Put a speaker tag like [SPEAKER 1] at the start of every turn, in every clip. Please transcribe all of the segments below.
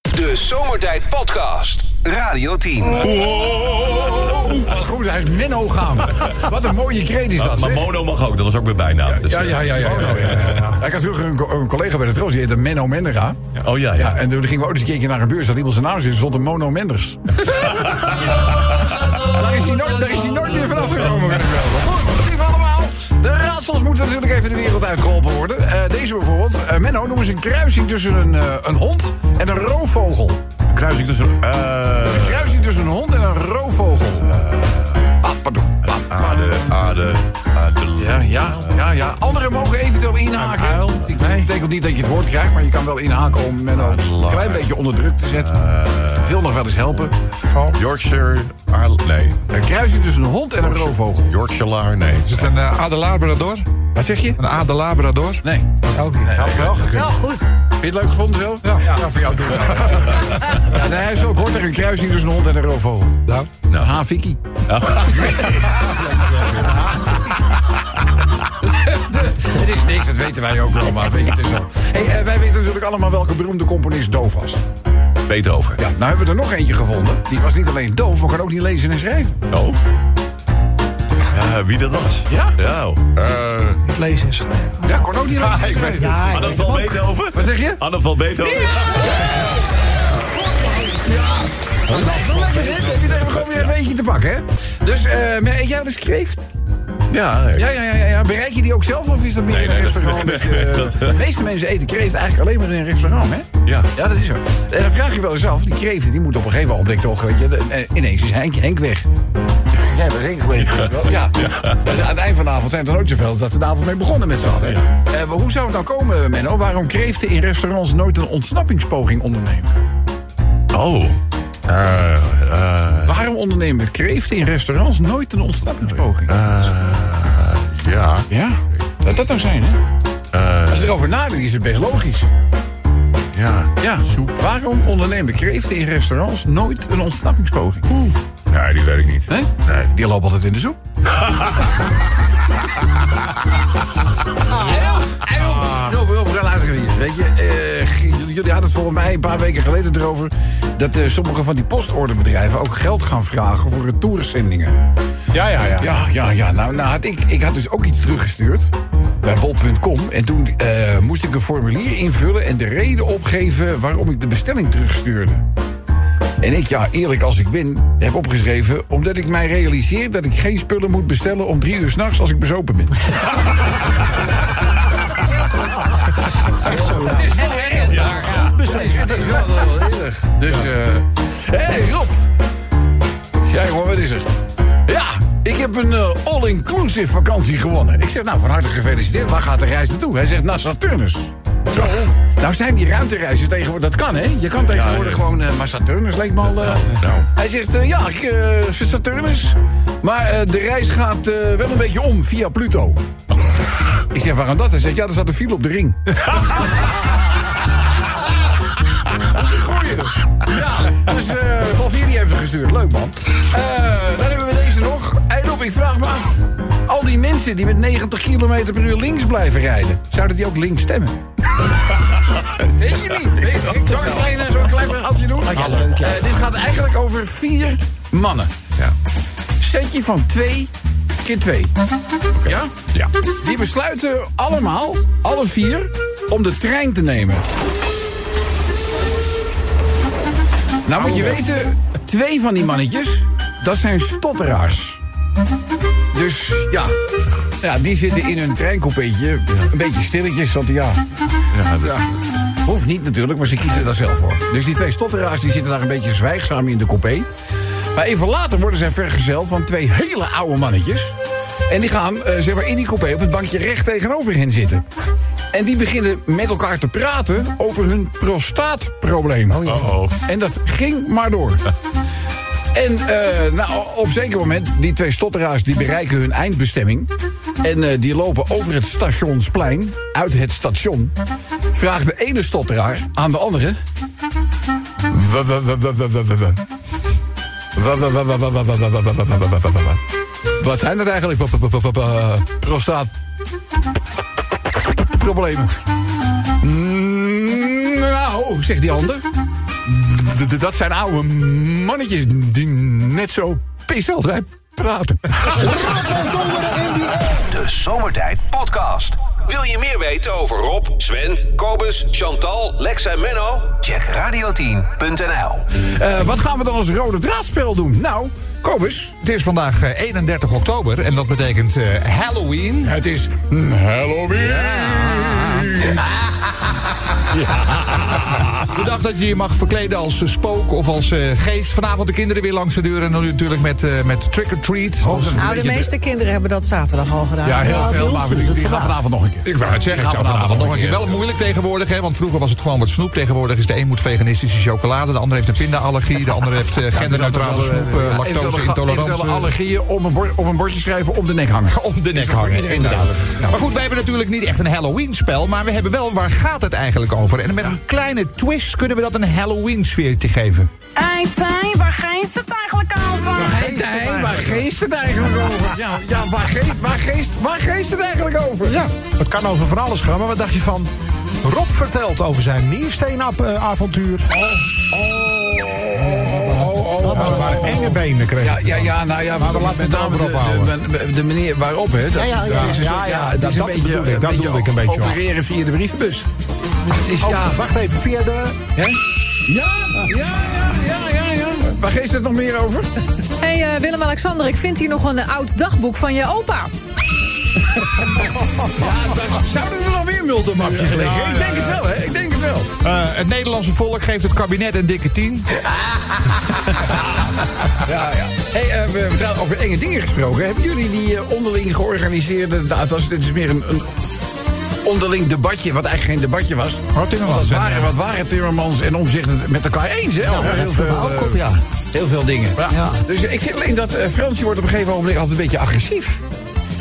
[SPEAKER 1] De Zomertijd Podcast. Radio 10.
[SPEAKER 2] Goed, hij is Menno gaan. Wat een mooie kreet is dat,
[SPEAKER 3] Maar
[SPEAKER 2] zeg.
[SPEAKER 3] Mono mag ook, dat was ook mijn bijnaam. Dus,
[SPEAKER 2] Ja, ja, ja. ja, Oh, ja, ja. Ik had vroeger een, co- een collega bij de troost, die heette Menno Mendega.
[SPEAKER 3] eh, Oh ja, ja.
[SPEAKER 2] Ja, en toen gingen we ook eens een keertje naar een beurs, dat iemand zijn naam zit, stond een Mono Menders. daar, is hij nooit, daar is hij nooit meer vanaf gekomen, weet ik wel. Maar Goed, lief allemaal. De raadsels moeten natuurlijk even de wereld uitgeholpen worden. Eh, deze bijvoorbeeld. Eh, Menno, noem eens een kruising tussen een, eh, een hond en een roofvogel.
[SPEAKER 3] Kruising tussen... eh
[SPEAKER 2] Kruising tussen dus een hond en een roofvogel. Ah, pardon. Ah,
[SPEAKER 3] aarde, aarde, aarde.
[SPEAKER 2] Ja, ja, ja, ja. Anderen mogen eventueel inhaken.
[SPEAKER 3] Een uil.
[SPEAKER 2] Ik dat betekent niet dat je het woord krijgt, maar je kan wel inhaken om Menno een
[SPEAKER 3] Adelaar.
[SPEAKER 2] klein beetje onder druk te zetten. Wil nog wel eens helpen.
[SPEAKER 3] Yorkshire, aarde, nee.
[SPEAKER 2] Een kruising tussen dus een hond en een roofvogel.
[SPEAKER 3] Yorkshire, nee.
[SPEAKER 4] Is het een eh, adelabrador?
[SPEAKER 2] Wat zeg je? Oh,
[SPEAKER 4] Een adelabrador?
[SPEAKER 2] Nee.
[SPEAKER 4] Ook niet.
[SPEAKER 2] Had wel gekund.
[SPEAKER 5] Wel goed.
[SPEAKER 2] Vind je het leuk gevonden zo? Ja, voor jou doen. ja, nee, hij is ook. Hoort er een kruising tussen een hond en een roofvogel?
[SPEAKER 4] Nou,
[SPEAKER 2] Nou. Haviki. Het is niks, dat weten wij ook wel, maar weet je, het is zo. Hey, eh, wij weten natuurlijk allemaal welke beroemde componist doof was.
[SPEAKER 3] Beethoven.
[SPEAKER 2] Ja, nou hebben we er nog eentje gevonden. Die was niet alleen doof, maar kan ook niet lezen en schrijven.
[SPEAKER 3] Oh. Ja, wie dat was?
[SPEAKER 2] Ja?
[SPEAKER 3] Ja. eh,
[SPEAKER 4] het lezen en schrijven.
[SPEAKER 2] Ja, kon ook niet lezen. ik weet het.
[SPEAKER 3] Anne van Beethoven?
[SPEAKER 2] Wat zeg je?
[SPEAKER 3] Anne van Beethoven?
[SPEAKER 2] Wel lekker, hè? Daar hebben we gewoon weer een beetje te pakken, hè? Dus, eh, maar eet jij dus kreeft?
[SPEAKER 3] Ja, eh,
[SPEAKER 2] Ja, ja, ja, ja, ja. Bereik je die ook zelf of is dat meer
[SPEAKER 3] Nee,
[SPEAKER 2] in een
[SPEAKER 3] nee, dat-
[SPEAKER 2] restaurant?
[SPEAKER 3] nee,
[SPEAKER 2] dat je-
[SPEAKER 3] nee, dat-
[SPEAKER 2] de meeste mensen eten kreeft eigenlijk alleen maar in een restaurant, hè?
[SPEAKER 3] Ja.
[SPEAKER 2] Ja, dat is zo. En dan vraag je wel eens af, die kreeft die moet op een gegeven moment toch, weet je, de- eh, ineens is Henk, Henk weg. Jij bent Henk weg. Ja. Dus aan het eind van de avond zijn er nooit zoveel dat ze de avond mee begonnen met z'n allen. Eh, maar hoe zou het nou komen, Menno, waarom kreeften in restaurants nooit een ontsnappingspoging ondernemen?
[SPEAKER 3] Oh. Eh, eh,
[SPEAKER 2] Waarom ondernemen kreeften in restaurants nooit een ontsnappingspoging?
[SPEAKER 3] ja.
[SPEAKER 2] Ja, dat dat nou zijn, hè?
[SPEAKER 3] Eh.
[SPEAKER 2] Als je erover nadenkt, is het best logisch.
[SPEAKER 3] Ja.
[SPEAKER 2] Ja, waarom ondernemen kreeften in restaurants nooit een ontsnappingspoging?
[SPEAKER 3] Nee, die weet ik niet.
[SPEAKER 2] Hè?
[SPEAKER 3] Nee.
[SPEAKER 2] Die loopt altijd in de soep. Ah, heel, heel. Nou, we gaan luisteren hier. Weet je, eh, g- jullie- jullie hadden het volgens mij een paar weken geleden erover... dat eh, sommige van die postorderbedrijven ook geld gaan vragen voor retourzendingen.
[SPEAKER 4] Ja, ja, ja.
[SPEAKER 2] Ja, ja, ja. Nou, nou had ik, ik had dus ook iets teruggestuurd bij bol.com. En toen eh, moest ik een formulier invullen en de reden opgeven waarom ik de bestelling terugstuurde. En ik, ja, eerlijk als ik ben, heb opgeschreven... omdat ik mij realiseer dat ik geen spullen moet bestellen... om drie uur s'nachts als ik bezopen ben.
[SPEAKER 5] Dat is heel erg. Ja.
[SPEAKER 2] Dat is wel heel erg. Dus, eh... Hé, hey, Rob! Ja, jongen, wat is er? Ja, ik heb een eh, all-inclusive vakantie gewonnen. Ik zeg, nou, van harte gefeliciteerd. Waar gaat de reis naartoe? Hij zegt, naar Saturnus. Zo. Nou zijn die ruimtereizen tegenwoordig... Dat kan, hè? Je kan tegenwoordig
[SPEAKER 3] ja.
[SPEAKER 2] gewoon... eh, maar Saturnus leek me al... eh,
[SPEAKER 3] Nou.
[SPEAKER 2] hij zegt, eh, ja, ik, eh, Saturnus. Maar eh, de reis gaat eh, wel een beetje om via Pluto.
[SPEAKER 3] Oh.
[SPEAKER 2] Ik zeg, waarom dat? Hij zegt, ja, er zat een file op de ring. dat is een goeie. Ja, dus eh Valvieri heeft het gestuurd. Leuk, man. Eh, dan hebben we deze nog. Hey, Rob, ik vraag me af. Al die mensen die met 90 km per uur links blijven rijden... zouden die ook links stemmen? Weet je niet. Weet je, ik zal een klein, eh, zal ik een klein verhaaltje doen. Eh, dit gaat eigenlijk over vier mannen.
[SPEAKER 3] Ja.
[SPEAKER 2] Setje van twee keer twee. Ja?
[SPEAKER 3] Ja.
[SPEAKER 2] Die besluiten allemaal, alle vier, om de trein te nemen. Nou moet je weten, twee van die mannetjes, dat zijn stotteraars. Dus ja, ja die zitten in hun treincoupéetje, een beetje stilletjes, want ja...
[SPEAKER 3] Ja, dat-
[SPEAKER 2] Hoeft niet natuurlijk, maar ze kiezen daar zelf voor. Dus die twee stotteraars die zitten daar een beetje zwijgzaam in de coupé. Maar even later worden zij vergezeld van twee hele oude mannetjes. En die gaan eh, zeg maar in die coupé op het bankje recht tegenover hen zitten. En die beginnen met elkaar te praten over hun prostaatprobleem.
[SPEAKER 3] Uh-oh.
[SPEAKER 2] En dat ging maar door. En eh, nou, op zeker moment, die twee stotteraars die bereiken hun eindbestemming. En eh, die lopen over het stationsplein, uit het station. Vraagt de ene stotteraar aan de andere... "Wa, wa, wa, wa, wa, wa, wa, wa. Wa, wa, wa, wa, wa, wa, wa, wa, wa, wa, wa, wa, wa, wa, wa. Wat zijn dat eigenlijk? Wa, wa, wa, wa, wa, wa. Prostaat... Problemen. Mm, Nou, zegt die ander. d- d- dat zijn oude mannetjes die net zo pis als wij praten.
[SPEAKER 1] De Zomertijd Podcast. Wil je meer weten over Rob, Sven, Kobus, Chantal, Lex en Menno? Check radio10.nl.
[SPEAKER 2] Eh, wat gaan we dan als rode draadspel doen? Nou, Kobus,
[SPEAKER 6] Het is vandaag eh, 31 oktober en dat betekent eh, Halloween.
[SPEAKER 2] het is mm, Halloween.
[SPEAKER 6] De dag dat je je mag verkleden als eh, spook of als eh, geest. Vanavond de kinderen weer langs de deur en dan natuurlijk met, eh, met trick or treat.
[SPEAKER 2] dat is een
[SPEAKER 5] Nou, de
[SPEAKER 2] beetje de-
[SPEAKER 5] meeste kinderen hebben dat zaterdag al gedaan.
[SPEAKER 2] Ja, heel veel, maar we- die, die gaan vanavond nog een keer.
[SPEAKER 3] Ik wou het zeggen,
[SPEAKER 2] Die
[SPEAKER 3] ik
[SPEAKER 2] gaan
[SPEAKER 3] zou
[SPEAKER 6] Vanavond nog een keer.
[SPEAKER 3] keer.
[SPEAKER 6] Wel moeilijk tegenwoordig, hè? Want vroeger was het gewoon wat snoep. Tegenwoordig is de een moet veganistische chocolade, de ander heeft een pindaallergie, de ander heeft eh, genderneutrale snoep, eh,
[SPEAKER 2] Ja,
[SPEAKER 6] lactose
[SPEAKER 2] eventuele ga-
[SPEAKER 6] intolerantie.
[SPEAKER 2] eventuele allergieën om een, bord, om een bordje schrijven om de nek hangen.
[SPEAKER 6] om de nek hangen. inderdaad. Nou, Maar goed, wij hebben natuurlijk niet echt een Halloween-spel. Maar we hebben wel waar gaat het eigenlijk over. En met een kleine twist kunnen we dat een Halloween-sfeertje geven.
[SPEAKER 7] Ei, Tijn, waar geest het eigenlijk over?
[SPEAKER 2] Hey, Tijn, waar geest het eigenlijk over? Ja, ja waar, geest, waar, geest, waar geest het eigenlijk over?
[SPEAKER 8] Ja, het kan over van alles gaan, maar wat dacht je van... Rob vertelt over zijn niersteenavontuur.
[SPEAKER 2] Oh,
[SPEAKER 8] Maar enge benen kreeg
[SPEAKER 2] Ja,
[SPEAKER 8] hij.
[SPEAKER 2] ja, ja, nou ja, we laten de,
[SPEAKER 8] daarover
[SPEAKER 2] de,
[SPEAKER 8] ophouden.
[SPEAKER 2] de, de manier waarop, hè? Dat,
[SPEAKER 8] ja, ja.
[SPEAKER 2] het is een
[SPEAKER 8] Ja,
[SPEAKER 2] soort-
[SPEAKER 8] ja,
[SPEAKER 2] het
[SPEAKER 8] dat-
[SPEAKER 2] is een
[SPEAKER 8] dat
[SPEAKER 2] beetje,
[SPEAKER 8] bedoel ik, dat
[SPEAKER 2] beetje
[SPEAKER 8] bedoel ik een beetje, ja.
[SPEAKER 2] Opereren via de brievenbus. Het is, ja,
[SPEAKER 8] Oh, Wacht even, via de...
[SPEAKER 2] hè? Ja, ja, ja, ja, ja, ja. Waar geest het nog meer over?
[SPEAKER 5] Hey, eh, Willem-Alexander, ik vind hier nog een eh, oud dagboek van je opa.
[SPEAKER 2] Zouden er nog meer multimapjes liggen? ik denk het wel, hè? Ik denk het wel.
[SPEAKER 6] Eh, het Nederlandse volk geeft het kabinet een dikke 10.
[SPEAKER 2] Ja, ja. Hey, eh, we hebben trouwens over enge dingen gesproken. Hebben jullie die eh, onderling georganiseerde... Nou, het was, dit is meer een, een onderling debatje, wat eigenlijk geen debatje was.
[SPEAKER 6] Wat Timmermans,
[SPEAKER 2] Want Dat
[SPEAKER 6] hè?
[SPEAKER 2] waren, wat waren Timmermans en Omzicht het met elkaar eens, hè? Over heel, veel, eh, heel veel dingen.
[SPEAKER 9] Ja.
[SPEAKER 2] Dus ik vind alleen dat eh Fransje wordt op een gegeven moment altijd een beetje agressief.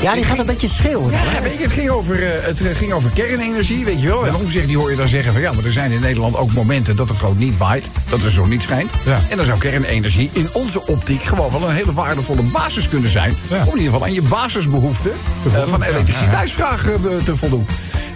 [SPEAKER 9] Ja, die gaat een beetje schreeuwen.
[SPEAKER 2] Ja, weet je, het ging over, eh, het eh, ging over kernenergie, weet je wel. En omzicht die hoor je dan zeggen van ja, maar er zijn in Nederland ook momenten dat het gewoon niet waait. Dat de zon niet schijnt.
[SPEAKER 6] Ja.
[SPEAKER 2] En dan zou kernenergie in onze optiek gewoon wel een hele waardevolle basis kunnen zijn. Om in ieder geval aan je basisbehoeften eh, van elektriciteitsvraag eh, be- te voldoen.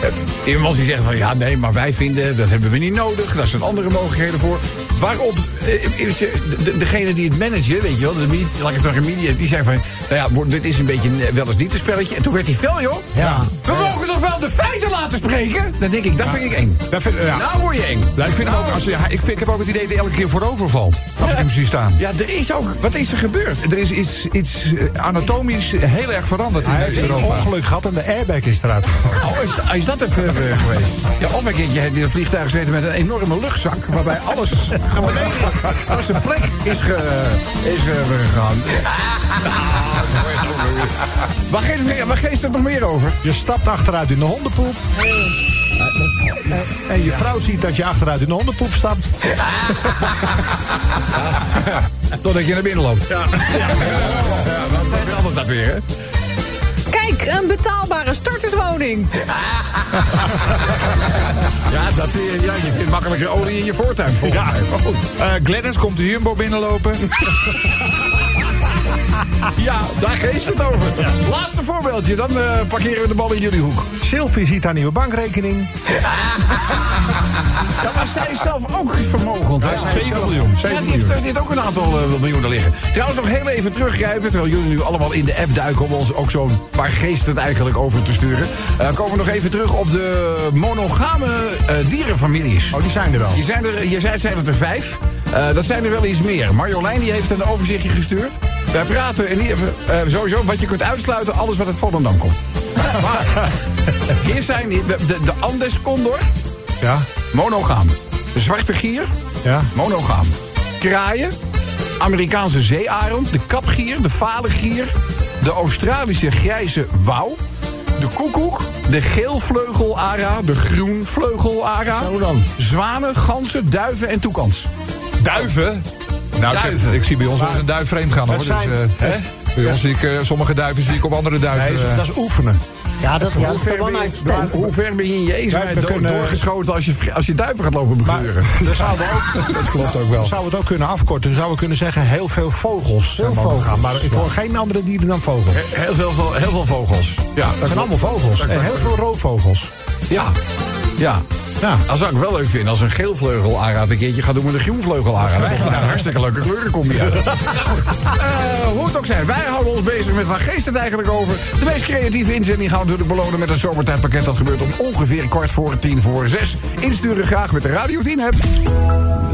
[SPEAKER 2] Eh, Timmermans die zegt van ja, nee, maar wij vinden dat hebben we niet nodig. Daar zijn andere mogelijkheden voor. Waarop eh, is, eh, de- degene die het managen, weet je wel, de, me- laat ik het zeggen, media, die zei van nou ja, wordt- dit is een beetje een, eh, wel eens niet een spelletje. En toen werd hij fel, joh.
[SPEAKER 9] Ja.
[SPEAKER 2] We mogen toch wel de feiten laten spreken? Dan denk ik, dat vind ik eng.
[SPEAKER 6] Dat vind- ja.
[SPEAKER 2] Nou word je eng. Nou.
[SPEAKER 6] Ja, ik, vind hem ook, als, ja, ik, vind, ik heb ook het idee dat hij elke keer voorover valt. Als ik hem zie staan.
[SPEAKER 2] Ja, er is ook. Wat is er gebeurd?
[SPEAKER 6] Er is iets, iets eh, anatomisch heel erg veranderd in
[SPEAKER 8] Hij heeft een
[SPEAKER 6] Europa.
[SPEAKER 8] ongeluk gehad en de airbag is eruit gevallen.
[SPEAKER 2] Nou, is, is dat het eh, geweest? Ja, of een keertje heeft hij in een vliegtuig gezeten met een enorme luchtzak... waarbij alles gewoon ineens van zijn plek is, ge, is eh, gegaan. Waar geeft, waar geeft het nog meer over?
[SPEAKER 8] Je stapt achteruit in de hondenpoep. En- En je vrouw ziet dat je achteruit in de hondenpoep stapt.
[SPEAKER 2] Totdat je naar binnen loopt. Ja, dat verandert dat weer, hè?
[SPEAKER 5] Kijk, een betaalbare starterswoning.
[SPEAKER 2] Ja, dat, eh, ja, je vindt makkelijker olie in je voortuin, volgens mij. Maar goed.
[SPEAKER 6] Eh Glennis komt de Jumbo binnenlopen.
[SPEAKER 2] Ja, daar geeft het over. Laatste voorbeeldje, dan eh, parkeren we de bal in jullie hoek.
[SPEAKER 8] Sylvie ziet haar nieuwe bankrekening.
[SPEAKER 2] Ja, maar zij is zelf ook vermogend. hè? Zij is
[SPEAKER 6] 7
[SPEAKER 2] zelf-
[SPEAKER 6] miljoen,
[SPEAKER 2] Ja,
[SPEAKER 6] 7
[SPEAKER 2] die heeft, die heeft ook een aantal eh, miljoenen liggen. Trouwens, nog heel even teruggrijpen. Terwijl jullie nu allemaal in de app duiken om ons ook zo'n paar geesten eigenlijk over te sturen. Eh, komen we nog even terug op de monogame eh, dierenfamilies.
[SPEAKER 8] Oh, die zijn er wel.
[SPEAKER 2] Je, zijn er, je zei het zijn het er vijf. Eh, dat zijn er wel iets meer. Marjolein die heeft een overzichtje gestuurd. Wij praten in ieder geval eh, sowieso wat je kunt uitsluiten, alles wat uit Volendam komt. Maar hier zijn de, de, de Andes Condor,
[SPEAKER 8] Ja,
[SPEAKER 2] monogaam. De zwarte gier,
[SPEAKER 8] ja.
[SPEAKER 2] monogaam. Kraaien, Amerikaanse zeearend, de kapgier, de valengier... de Australische grijze wauw, de koekoek... de geelvleugelara, de groenvleugelara...
[SPEAKER 8] Zo dan.
[SPEAKER 2] zwanen, ganzen, duiven en toekans.
[SPEAKER 6] Duiven? Nou, ik-
[SPEAKER 2] Duiven.
[SPEAKER 6] Ik, zie bij ons wel eens een duif vreemd gaan. Hoor.
[SPEAKER 8] Het
[SPEAKER 6] Dus,
[SPEAKER 8] zijn-
[SPEAKER 6] eh, bij ons zie ik eh, sommige duiven zie ik op andere duiven.
[SPEAKER 8] Nee,
[SPEAKER 6] eh,
[SPEAKER 8] dat is oefenen.
[SPEAKER 9] Ja, dat ja, dat is
[SPEAKER 2] Hoe ver
[SPEAKER 9] de
[SPEAKER 2] ben je-
[SPEAKER 9] one-night-stand.
[SPEAKER 2] Hoe ver ben je in je eenzaamheid
[SPEAKER 8] we
[SPEAKER 2] dood-
[SPEAKER 8] kunnen-
[SPEAKER 2] doorgeschoten als je, vri- als je duiven gaat lopen
[SPEAKER 8] Maar
[SPEAKER 2] begleuren?
[SPEAKER 8] dan zouden we ook, dat klopt ook wel. Zou het ook kunnen afkorten? Zouden we kunnen zeggen heel veel vogels? Heel
[SPEAKER 9] vogels,
[SPEAKER 8] Maar ik hoor geen andere dieren dan vogels. Het
[SPEAKER 2] Heel veel, vo- heel veel vogels. Ja, dat
[SPEAKER 8] zijn allemaal vogels. En heel veel roofvogels.
[SPEAKER 2] Ja, ja.
[SPEAKER 8] Ja.
[SPEAKER 2] Dat zou ik wel leuk vinden als een geelvleugel aanraad een keertje gaat doen met een groenvleugel aanraad. Dat is nou een hartstikke leuke kleurencombi uit. Eh, hoe het ook zijn, wij houden ons bezig met waar geest het eigenlijk over. De meest creatieve inzending gaan we natuurlijk belonen met een zomertijdpakket. Dat gebeurt om ongeveer kwart voor tien voor zes. Insturen graag met de Radio 10 app.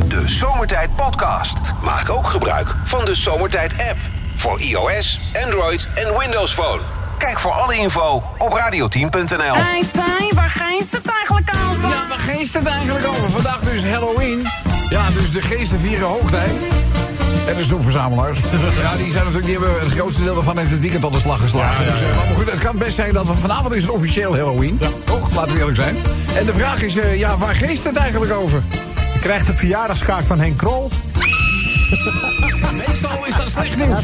[SPEAKER 1] De Zomertijd Podcast. Maak ook gebruik van de Zomertijd app. Voor iOS, Android en Windows Phone. Kijk voor alle info op radioteam.nl.
[SPEAKER 7] Hey Tijn, waar geest het eigenlijk over?
[SPEAKER 2] Ja, waar geest het eigenlijk over? Vandaag dus Halloween. Ja, dus de geesten vieren hoogtij. En de snoepverzamelaars. Ja, die, zijn natuurlijk, die hebben het grootste deel daarvan heeft het weekend al de slag geslagen. Dus, eh, maar goed, het kan best zijn dat we, vanavond is het officieel Halloween. Toch? Laten we eerlijk zijn. En de vraag is, eh, ja, waar geest het eigenlijk over?
[SPEAKER 8] Je krijgt een verjaardagskaart van Henk Krol.
[SPEAKER 2] Meestal is dat slecht nieuws.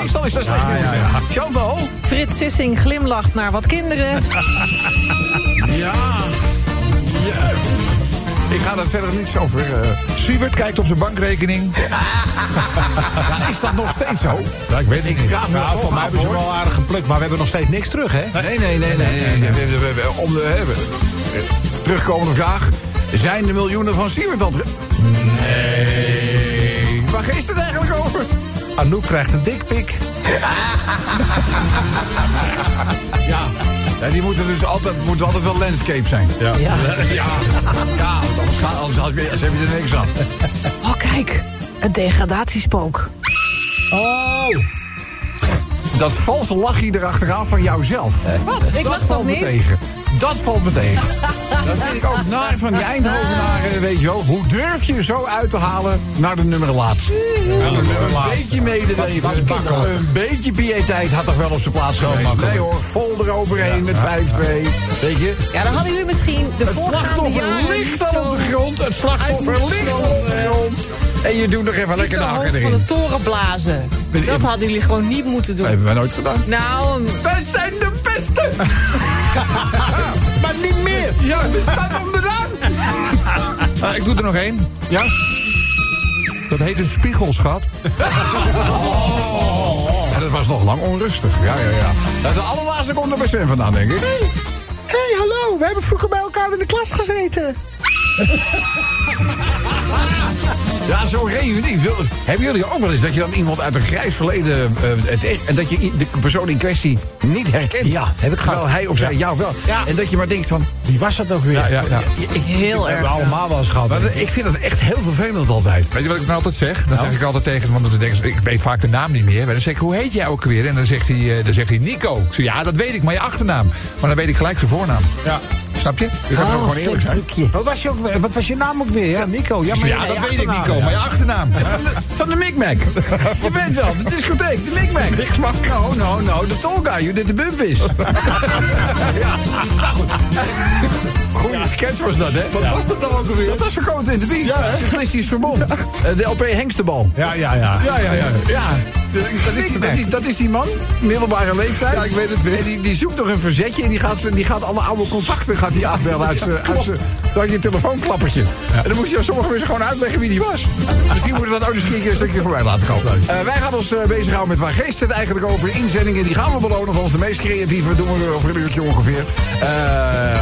[SPEAKER 2] Meestal is dat slecht nieuws. Chantal?
[SPEAKER 5] Frits Sissing glimlacht naar wat kinderen.
[SPEAKER 2] Ja. ja. Ik ga daar verder niets over. eh.
[SPEAKER 6] Siebert kijkt op zijn bankrekening.
[SPEAKER 2] Ja, is dat nog steeds zo?
[SPEAKER 6] Ja, ik weet het
[SPEAKER 2] Ik
[SPEAKER 6] niet.
[SPEAKER 2] vraag me dat
[SPEAKER 8] Nou,
[SPEAKER 2] toch
[SPEAKER 8] voor mij
[SPEAKER 2] af,
[SPEAKER 8] hebben ze
[SPEAKER 2] hoor.
[SPEAKER 8] wel aardig geplukt, maar we hebben nog steeds niks terug, hè?
[SPEAKER 2] Nee, nee, nee, nee. nee, nee. We, we, we- we- om de, hè, we- we- terugkomende vraag. Zijn de miljoenen van Siewert al terug? Nee. Waar geest het eigenlijk over?
[SPEAKER 8] Anouk krijgt een dikpik.
[SPEAKER 2] Ja, die moeten dus altijd, moeten altijd wel landscape zijn. Ja.
[SPEAKER 9] Ja.
[SPEAKER 2] Ja, ja want anders, ga, anders, had je- anders heb je er niks aan.
[SPEAKER 5] Oh, kijk. Het degradatiespook.
[SPEAKER 2] Oh. Dat valse lachje erachteraan van jouzelf.
[SPEAKER 5] Wat? Ik
[SPEAKER 2] dat
[SPEAKER 5] lach toch
[SPEAKER 2] valt me
[SPEAKER 5] niet?
[SPEAKER 2] tegen. Dat valt me tegen. Dat vind ik ook naar van die Eindhovenaren, weet je wel. Hoe durf je zo uit te halen naar de nummer laatst? Een beetje medeleven,
[SPEAKER 8] Wat- wat bakkenlastig.
[SPEAKER 2] een beetje pietijd had toch wel op zijn plaats geweest. Nee hoor, vol eroverheen met 5-2, weet je.
[SPEAKER 5] Ja, dan hadden jullie misschien de
[SPEAKER 2] Het
[SPEAKER 5] voorgaande
[SPEAKER 2] slachtoffer
[SPEAKER 5] jaren
[SPEAKER 2] ligt
[SPEAKER 5] niet
[SPEAKER 2] al
[SPEAKER 5] zo...
[SPEAKER 2] op de grond, het slachtoffer
[SPEAKER 5] Uit moet
[SPEAKER 2] ligt op de
[SPEAKER 5] sloven.
[SPEAKER 2] grond. En je doet nog even
[SPEAKER 5] Niet
[SPEAKER 2] lekker
[SPEAKER 5] zo
[SPEAKER 2] de
[SPEAKER 5] hoog
[SPEAKER 2] hakken
[SPEAKER 5] van
[SPEAKER 2] erin.
[SPEAKER 5] de toren blazen.
[SPEAKER 2] Ben-
[SPEAKER 5] Dat hadden jullie gewoon niet moeten
[SPEAKER 2] Dat
[SPEAKER 5] doen.
[SPEAKER 2] hebben wij nooit gedaan.
[SPEAKER 5] Nou,
[SPEAKER 2] Wij zijn de beste!
[SPEAKER 6] Maar niet meer!
[SPEAKER 2] Ja, we staan onderaan!
[SPEAKER 6] Ah, ik doe er nog één.
[SPEAKER 2] Ja?
[SPEAKER 6] Dat heet een spiegelschat.
[SPEAKER 2] Ja, dat was nog lang onrustig. Ja, ja, ja. Dat de allerlaatste komt er bij Sven vandaan, denk ik.
[SPEAKER 8] Hé, hey, hallo, we hebben vroeger bij elkaar in de klas gezeten.
[SPEAKER 2] Ja, zo'n reunie. Wil- Hebben jullie ook wel eens dat je dan iemand uit een grijs verleden... eh, het e- en dat je i- de persoon in kwestie niet herkent?
[SPEAKER 8] Ja, heb ik gehad.
[SPEAKER 2] Terwijl hij of zij jou wel. En dat je maar denkt van...
[SPEAKER 8] Wie was dat ook weer? Ja, ja,
[SPEAKER 5] heel
[SPEAKER 8] We hebben
[SPEAKER 5] erg.
[SPEAKER 8] allemaal wel eens gehad.
[SPEAKER 2] Maar ik vind dat echt heel vervelend altijd.
[SPEAKER 6] Weet je wat ik dan altijd zeg?
[SPEAKER 8] Nou?
[SPEAKER 6] Dan zeg ik altijd tegen hem, want dan denken ze, ik weet vaak de naam niet meer. Maar dan zeg ik, hoe heet jij ook weer? En dan zegt hij, eh, dan zegt hij Nico. Ik zeg, ja, dat weet ik, maar je achternaam. Maar dan weet ik gelijk zijn voornaam.
[SPEAKER 8] Ja.
[SPEAKER 6] Snap je?
[SPEAKER 2] Je
[SPEAKER 8] Ah,
[SPEAKER 2] kan
[SPEAKER 6] Oh,
[SPEAKER 2] gewoon eerlijk zijn.
[SPEAKER 9] trucje.
[SPEAKER 8] Wat was, je ook, weer? wat was je naam ook weer? Ja, Nico. Ja, maar
[SPEAKER 6] Ja,
[SPEAKER 8] nee,
[SPEAKER 6] dat weet ik,
[SPEAKER 8] achternaam,
[SPEAKER 6] Nico,
[SPEAKER 8] ja.
[SPEAKER 6] maar je achternaam.
[SPEAKER 2] Van de- Van de Micmac. Je weet wel, de discotheek, de Micmac. Micmac. No, no, no, de tall guy, you did the bump is. ja, nou goed. Goeie sketch was dat, hè? Wat was dat dan ook alweer? Dat was verkopen in de bier. Ja, Cyclistisch verbond. Eh, De LP Hengstenbal.
[SPEAKER 8] Ja, ja, ja.
[SPEAKER 2] Ja, ja, ja. ja. Dat, is die, dat, is, dat is die man, middelbare leeftijd. Ja, ik weet het weer. Die, die zoekt nog een verzetje en die gaat, ze- die gaat alle oude contacten gaat die afbellen uit zijn uit zijn- uit eh, je telefoonklappertje. En dan moest je aan sommige mensen gewoon uitleggen wie die was. Misschien moeten we dat ook eens een keer een stukje voorbij laten komen. Eh, wij gaan ons eh, bezighouden met waar geest het eigenlijk over inzendingen. Die gaan we belonen van ons de meest creatieve. Doen we over een uurtje ongeveer. Eh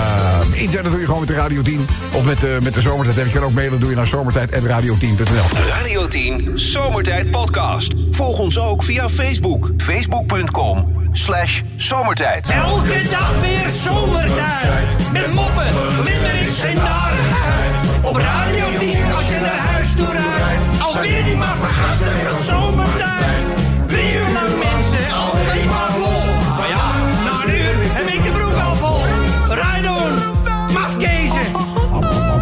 [SPEAKER 2] inzenden doe je gewoon met de Radio 10 of met, eh, met de Zomertijd. En je kan ook mailen, doe je naar zomertijd.radio10.nl.
[SPEAKER 1] Radio 10 Zomertijd Podcast. Volg ons ook via Facebook. Facebook.com slash zomertijd.
[SPEAKER 10] Elke dag weer zomertijd. Met moppen, limmerings en narigheid. Op Radio 10 als je naar huis toe rijdt. Alweer die maar vergastige zomertijd. Drie uur lang mensen, alleen maar lol. Maar ja, na een uur heb ik de broek al vol. Rijdoen, mafkezen.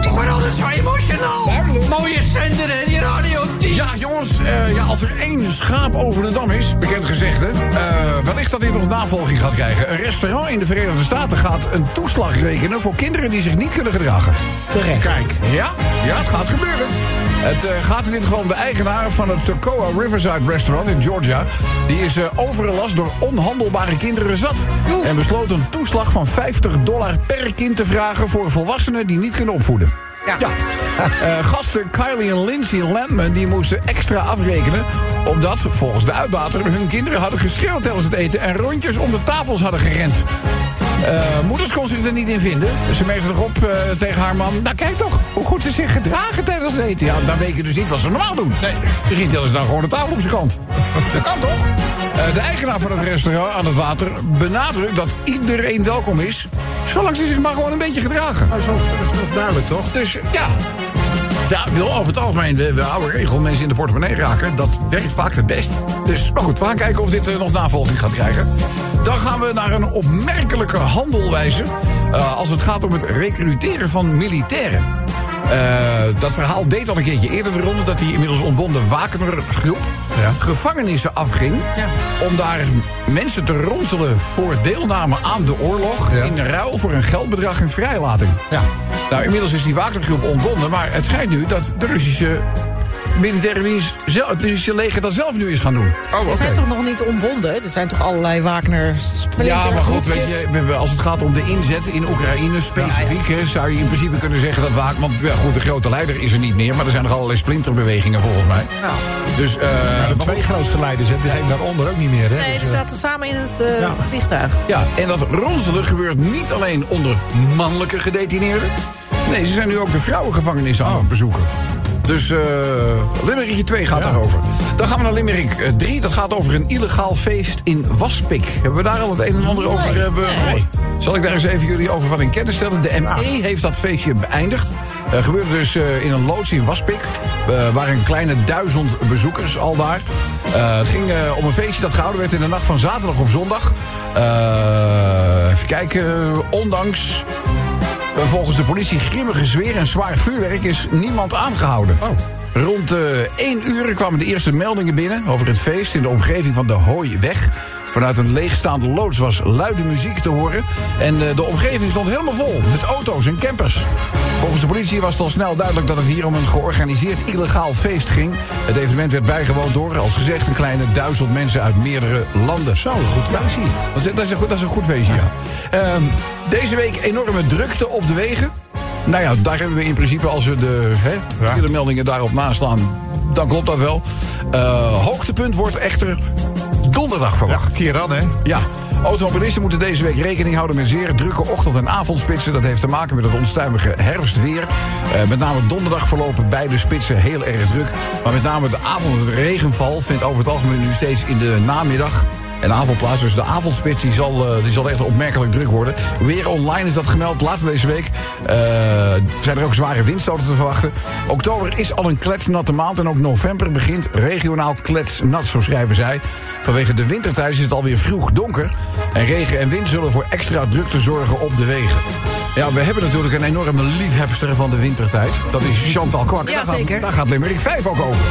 [SPEAKER 10] Ik word altijd zo emotional. Mooie zender en die Radio 10.
[SPEAKER 2] Ja, jongens, eh, ja, als er één schaap over de dam is, bekend gezegde... eh, wellicht dat hij nog navolging gaat krijgen. Een restaurant in de Verenigde Staten gaat een toeslag rekenen... voor kinderen die zich niet kunnen gedragen.
[SPEAKER 9] Terecht.
[SPEAKER 2] Kijk. Ja, ja het gaat gebeuren. Het eh, gaat in dit geval om de eigenaar van het Tocoa Riverside Restaurant in Georgia. Die is eh overlast door onhandelbare kinderen zat. En besloot een toeslag van 50 dollar per kind te vragen... voor volwassenen die niet kunnen opvoeden. Ja. Eh, gasten Kylie en Lindsay Landman die moesten extra afrekenen... omdat, volgens de uitbater, hun kinderen hadden geschreeuwd tijdens het eten... en rondjes om de tafels hadden gerend. Eh, moeders kon zich er niet in vinden. Ze merkte toch op eh, tegen haar man. Nou, kijk toch hoe goed ze zich gedragen tijdens het eten. Ja, dan weet je dus niet wat ze normaal doen. Nee. Misschien tillen ze dan gewoon de tafel op zijn kant. Dat kan toch? Eh, de eigenaar van het restaurant aan het water benadrukt dat iedereen welkom is. Zolang ze zich maar gewoon een beetje gedragen.
[SPEAKER 8] Nou, zo is toch duidelijk, toch?
[SPEAKER 2] Dus ja. Ja, ik wil over het algemeen de, de oude regel mensen in de portemonnee raken. Dat werkt vaak het best. Dus, maar goed, we gaan kijken of dit eh, nog navolging gaat krijgen. Dan gaan we naar een opmerkelijke handelwijze. eh, als het gaat om het recruteren van militairen. Eh, dat verhaal deed al een keertje eerder de ronde dat die inmiddels ontbonden Wagner-groep gevangenissen afging. Om daar mensen te ronselen voor deelname aan de oorlog. in ruil voor een geldbedrag en vrijlating. Nou, inmiddels is die Wagnergroep ontbonden, maar het schijnt nu dat de Russische militaire dienst, zelf, het Russische leger dat zelf nu is gaan doen.
[SPEAKER 5] Oh, Ze zijn toch nog niet ontbonden? Er zijn toch allerlei Wagner
[SPEAKER 2] Ja, maar goed, weet je, we- we- als het gaat om de inzet in Oekraïne specifiek, hè, zou je in principe kunnen zeggen dat Wagner, want ja, goed, de grote leider is er niet meer, maar er zijn nog allerlei splinterbewegingen volgens mij.
[SPEAKER 5] Nou.
[SPEAKER 2] Dus eh,
[SPEAKER 8] De
[SPEAKER 2] maar
[SPEAKER 8] twee
[SPEAKER 2] goed,
[SPEAKER 8] grootste leiders, hè? Die heen daaronder ook niet meer, hè?
[SPEAKER 5] Nee,
[SPEAKER 8] Dus,
[SPEAKER 5] ze
[SPEAKER 8] eh,
[SPEAKER 5] zaten samen in het eh, vliegtuig.
[SPEAKER 2] ja, en dat ronselen gebeurt niet alleen onder mannelijke gedetineerden. Nee, ze zijn nu ook de vrouwengevangenis aan het bezoeken. Dus eh Limerickje 2 gaat daarover. Dan gaan we naar Limerick 3. Dat gaat over een illegaal feest in Waspik. Hebben we daar al het een en ander over eh, be- gehoord? Zal ik daar eens even jullie over van in kennis stellen? De ME heeft dat feestje beëindigd. Eh gebeurde dus eh, in een loods in Waspik. Eh waren een kleine duizend bezoekers al daar. Eh, het ging eh, om een feestje dat gehouden werd in de nacht van zaterdag op zondag. Eh, even kijken. Ondanks eh, Volgens de politie grimmige zweer en zwaar vuurwerk is niemand aangehouden. Rond eh 1 uur kwamen de eerste meldingen binnen over het feest in de omgeving van de Hooiweg. Vanuit een leegstaande loods was luide muziek te horen. En eh, de omgeving stond helemaal vol met auto's en campers. Volgens de politie was het al snel duidelijk dat het hier om een georganiseerd illegaal feest ging. Het evenement werd bijgewoond door, als gezegd, een kleine duizend mensen uit meerdere landen. Zo, goed feestje. Dat is, dat is, een, goed, dat is een goed feestje, ja. Ehm, deze week enorme drukte op de wegen. Nou ja, daar hebben we in principe, als we de hè, de meldingen daarop naslaan, dan klopt dat wel. Eh, hoogtepunt wordt echter donderdag verwacht.
[SPEAKER 3] Ja, Kieran, hè?
[SPEAKER 2] Ja. Automobilisten moeten deze week rekening houden met zeer drukke ochtend- en avondspitsen. Dat heeft te maken met het onstuimige herfstweer. Eh, met name donderdag verlopen beide spitsen heel erg druk. Maar met name de avond- en de regenval vindt over het algemeen nu steeds in de namiddag. En avond plaats, dus de avondspits die zal, eh, die zal echt opmerkelijk druk worden. Weer online is dat gemeld later deze week. Eh, zijn er ook zware windstoten te verwachten. Oktober is al een kletsnatte maand en ook november begint regionaal kletsnat, zo schrijven zij. Vanwege de wintertijd is het alweer vroeg donker. En regen en wind zullen voor extra drukte zorgen op de wegen. Ja, we hebben natuurlijk een enorme liefhebster van de wintertijd. Dat is Chantal Kwak.
[SPEAKER 5] Ja,
[SPEAKER 2] daar,
[SPEAKER 5] zeker.
[SPEAKER 2] Gaat, daar gaat Limerick 5 ook over.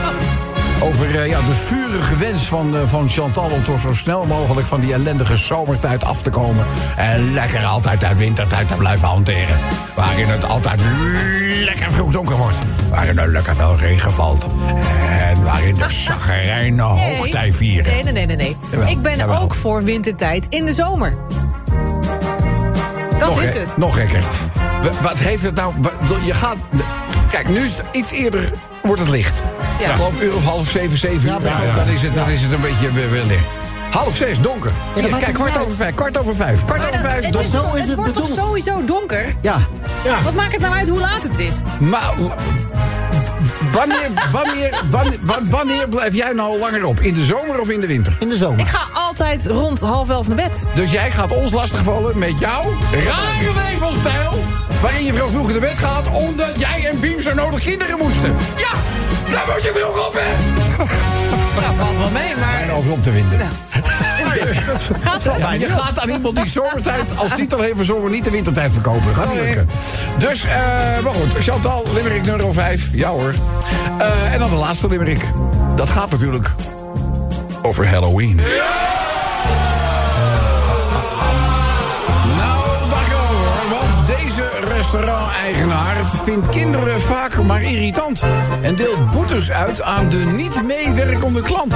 [SPEAKER 2] Over eh, ja, de vurige wens van, eh, van Chantal om toch zo snel mogelijk van die ellendige zomertijd af te komen. En lekker altijd de wintertijd te blijven hanteren. Waarin het altijd lekker vroeg donker wordt. Waarin er lekker veel regen valt. En waarin de chagrijnen hoogtij vieren.
[SPEAKER 5] Nee, nee, nee, nee. nee.
[SPEAKER 2] Jawel,
[SPEAKER 5] Ik ben
[SPEAKER 2] jawel.
[SPEAKER 5] ook voor wintertijd in de zomer. Dat
[SPEAKER 2] nog
[SPEAKER 5] is
[SPEAKER 2] gek-
[SPEAKER 5] het.
[SPEAKER 2] Nog gekker. W- Wat heeft het nou... wa- Je gaat... Kijk, nu is het iets eerder... Wordt het licht.
[SPEAKER 5] Ja.
[SPEAKER 2] Ik geloof uur of half zeven, zeven uur.
[SPEAKER 9] best wel.
[SPEAKER 2] Dan, is het, dan is het een beetje weer- weer licht. Half zes, donker. Hier,
[SPEAKER 9] maakt
[SPEAKER 2] kijk,
[SPEAKER 9] het
[SPEAKER 2] kwart
[SPEAKER 9] niet
[SPEAKER 2] over vijf. Kwart over vijf. Kwart
[SPEAKER 5] Maar
[SPEAKER 2] over
[SPEAKER 5] dan-
[SPEAKER 2] vijf,
[SPEAKER 5] het, is
[SPEAKER 2] donker.
[SPEAKER 9] Zo
[SPEAKER 5] toch-
[SPEAKER 9] is
[SPEAKER 5] het
[SPEAKER 9] het
[SPEAKER 5] wordt toch
[SPEAKER 9] bedoeld.
[SPEAKER 5] sowieso donker?
[SPEAKER 9] Ja,
[SPEAKER 5] Wat maakt het nou uit hoe laat het is?
[SPEAKER 2] Maar... w- Wanneer, wanneer, wanneer, wa- wanneer blijf jij nou langer op? In de zomer of in de winter?
[SPEAKER 9] in de zomer.
[SPEAKER 5] Ik ga altijd rond half elf naar bed.
[SPEAKER 2] Dus jij gaat ons lastigvallen met jouw rare leefstijl... waarin je veel vroeger naar bed gaat... omdat jij en Biem zo nodig kinderen moesten. Ja, daar moet je vroeg op, hè?
[SPEAKER 5] Nou, valt wel mee, maar...
[SPEAKER 2] En over om te winden.
[SPEAKER 5] Nou. Gaat wel
[SPEAKER 2] Ja, je gaat aan iemand die zomertijd als titel heeft verzonnen... niet de wintertijd verkopen. Gaat
[SPEAKER 5] Oh,
[SPEAKER 2] niet lukken. Dus, eh maar goed. Chantal, Limerick nummer 5. Ja hoor. Eh, en dan de laatste Limerick. Dat gaat natuurlijk over Halloween. Nou, bak over, want deze restaurant-eigenaar vindt kinderen vaak maar irritant. En deelt boetes uit aan de niet meewerkende klant.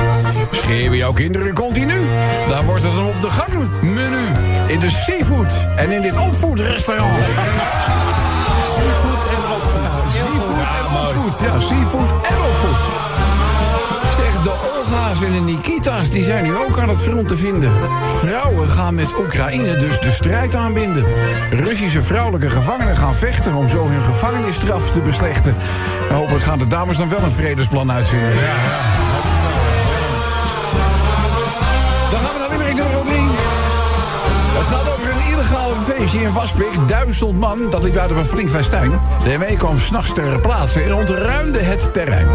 [SPEAKER 2] Schreeuwen jouw kinderen continu. Daar wordt het een op de gang menu. In de seafood en in dit opvoedrestaurant.
[SPEAKER 8] Seafood en opvoed.
[SPEAKER 2] Seafood en opvoed. Ja, seafood en opvoed. Zeg, de Olga's en de Nikita's Pagina's die zijn nu ook aan het front te vinden. Vrouwen gaan met Oekraïne dus de strijd aanbinden. Russische vrouwelijke gevangenen gaan vechten om zo hun gevangenisstraf te beslechten. En hopelijk gaan de dames dan wel een vredesplan uitvinden. Dan gaan we naar Limerick nummer 3. Het gaat over een illegale feestje in Waspik. Duizend man, dat liep uit op een flink festijn. De ME kwam s'nachts ter plaatse en ontruimde het terrein.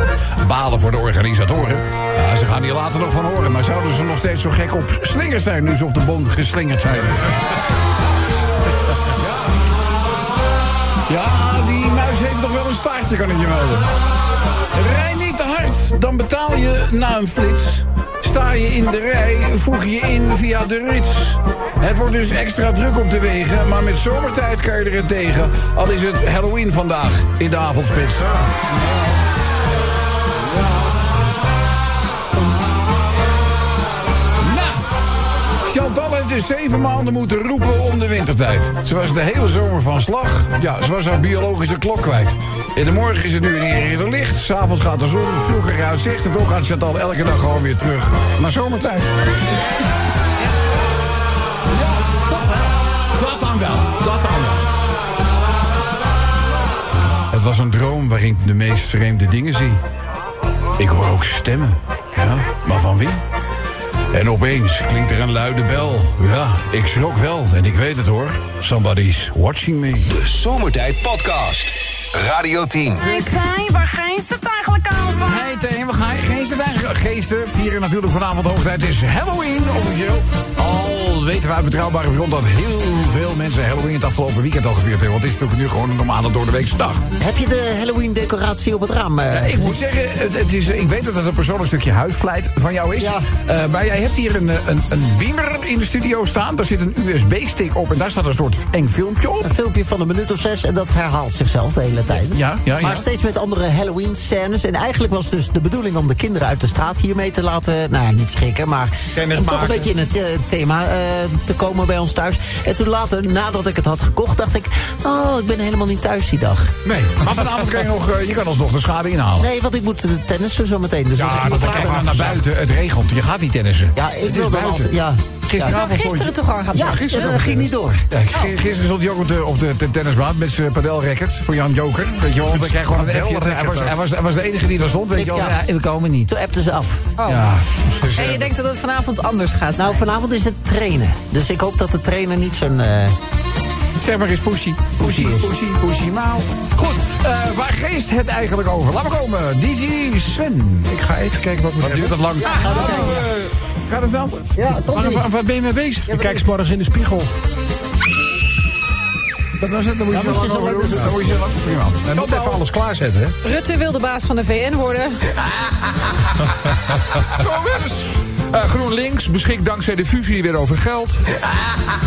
[SPEAKER 2] Balen voor de organisatoren. Ja, ze gaan hier later nog van horen. Maar zouden ze nog steeds zo gek op slingers zijn... nu ze op de bond geslingerd zijn? Ja, die muis heeft nog wel een staartje, kan ik je melden. Rij niet te hard, dan betaal je na een flits. Sta je in de rij, voeg je in via de rits. Het wordt dus extra druk op de wegen, maar met zomertijd kan je er het tegen. Al is het Halloween vandaag in de avondspits. Nou, Chantal heeft dus zeven maanden moeten roepen om de wintertijd. Ze was de hele zomer van slag. Ja, ze was haar biologische klok kwijt. In de morgen is het nu in eerder licht. S'avonds gaat de zon vroeger uit zicht. En toch gaat Chantal elke dag gewoon weer terug naar zomertijd. Ja, toch wel. Dat dan wel. Dat dan wel. Het was een droom waarin ik de meest vreemde dingen zie. Ik hoor ook stemmen. Ja, maar van wie? En opeens klinkt er een luide bel. Ja, ik schrok wel en ik weet het hoor. Somebody's watching me.
[SPEAKER 1] De Zomertijd Podcast. Radio 10.
[SPEAKER 7] Ik zei, waar gijnst het eigenlijk over?
[SPEAKER 2] Hey Teen, we gaan geesten eigenlijk. Geesten vieren natuurlijk vanavond hoogtijd. Het is Halloween officieel. Al weten we uit betrouwbare bron dat heel veel mensen Halloween het afgelopen weekend al gevierd hebben. Want het is natuurlijk nu gewoon een normale doordeweekse dag.
[SPEAKER 9] Heb je de Halloween-decoratie op het raam? eh?
[SPEAKER 2] Ik moet zeggen, het, het is, ik weet dat het een persoonlijk stukje huisvleit van jou is.
[SPEAKER 9] Ja.
[SPEAKER 2] Eh, maar jij hebt hier een, eh, een, een beamer in de studio staan. Daar zit een USB-stick op en daar staat een soort eng filmpje op.
[SPEAKER 9] Een filmpje van een minuut of zes en dat herhaalt zichzelf de hele tijd.
[SPEAKER 2] Ja, ja, ja.
[SPEAKER 9] Maar steeds met andere Halloween-scènes. En eigenlijk was dus de bedoeling om de kinderen uit de straat hiermee te laten... nou ja, niet schrikken, maar
[SPEAKER 8] Kennis
[SPEAKER 9] om toch een
[SPEAKER 8] maken.
[SPEAKER 9] beetje in het eh, thema eh, te komen bij ons thuis. En toen later, nadat ik het had gekocht, dacht ik... oh, ik ben helemaal niet thuis die dag.
[SPEAKER 2] Nee, maar vanavond kan je nog, eh, je kan alsnog de schade inhalen.
[SPEAKER 9] Nee, want ik moet eh, tennissen zo meteen. Dus als ik
[SPEAKER 2] Ja,
[SPEAKER 9] hier
[SPEAKER 2] dat
[SPEAKER 9] klaar
[SPEAKER 2] kijk
[SPEAKER 9] ben-
[SPEAKER 2] maar naar buiten. Het regent. Je gaat niet tennissen.
[SPEAKER 9] Ja, ik
[SPEAKER 2] het is
[SPEAKER 9] wilde
[SPEAKER 2] buiten.
[SPEAKER 9] altijd... Ja,
[SPEAKER 5] Zou
[SPEAKER 2] Gisteravond
[SPEAKER 5] gisteren
[SPEAKER 2] stond je-
[SPEAKER 5] toch al gaan
[SPEAKER 9] ja,
[SPEAKER 5] doen?
[SPEAKER 2] gisteren
[SPEAKER 9] eh,
[SPEAKER 2] nog
[SPEAKER 9] ging niet door.
[SPEAKER 2] Ja, g- gisteren stond hij ook op de, op de t- tennisbaan met zijn padelracket voor Jan Joker. Weet je wel, want dan krijg je gewoon een effje. Hij was, hij, was, hij was de enige die daar stond, weet
[SPEAKER 9] Ik,
[SPEAKER 2] je wel.
[SPEAKER 9] ja,
[SPEAKER 2] we komen niet.
[SPEAKER 9] Toen appten ze af.
[SPEAKER 5] Oh.
[SPEAKER 2] Ja, dus,
[SPEAKER 5] En
[SPEAKER 2] eh,
[SPEAKER 5] je denkt dat het vanavond anders gaat zijn.
[SPEAKER 9] Nou, vanavond is het trainen. Dus ik hoop dat de trainer niet zo'n... eh,
[SPEAKER 2] Zeg maar eens poesie. Poesie, poesie, poesie, maal. Goed, eh, waar geest het eigenlijk over? Laat maar komen, DJ Sven.
[SPEAKER 4] Ik ga even kijken wat
[SPEAKER 2] Wat
[SPEAKER 4] moet
[SPEAKER 2] duurt dat lang? Ja, gaat het Gaat het wel? Ja, waar, waar ben je mee bezig?
[SPEAKER 8] Ik kijk 's morgens in de spiegel.
[SPEAKER 2] Dat was het, dan moet je zo
[SPEAKER 9] moest je
[SPEAKER 2] lang
[SPEAKER 9] zo
[SPEAKER 2] over
[SPEAKER 9] lang
[SPEAKER 2] doen. Dan moet je zo lang prima.
[SPEAKER 4] Je moet even alles klaarzetten, hè?
[SPEAKER 5] Rutte wil de baas van de VN worden.
[SPEAKER 6] Eh, GroenLinks beschikt dankzij de fusie weer over geld.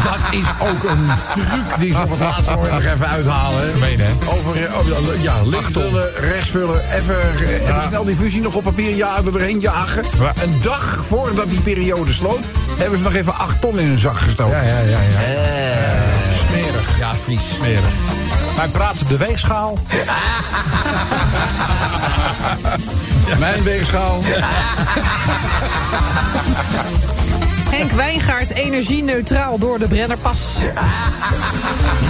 [SPEAKER 2] Dat is ook een truc die ze op het laatste moment nog even uithalen.
[SPEAKER 6] Te meen, hè?
[SPEAKER 2] Over, eh, oh, ja, ja, links vullen, rechts vullen. Even, eh, even snel die fusie nog op papier ja, er doorheen jagen.
[SPEAKER 6] Ja.
[SPEAKER 2] Een dag voordat die periode sloot... hebben ze nog even acht ton in hun zak gestoken.
[SPEAKER 4] Ja, ja, ja. ja.
[SPEAKER 2] Smerig. Ja, vies.
[SPEAKER 4] Smerig.
[SPEAKER 8] Hij praat de weegschaal.
[SPEAKER 2] Mijn weegschaal.
[SPEAKER 5] Henk Wijngaard, energie-neutraal door de Brennerpas.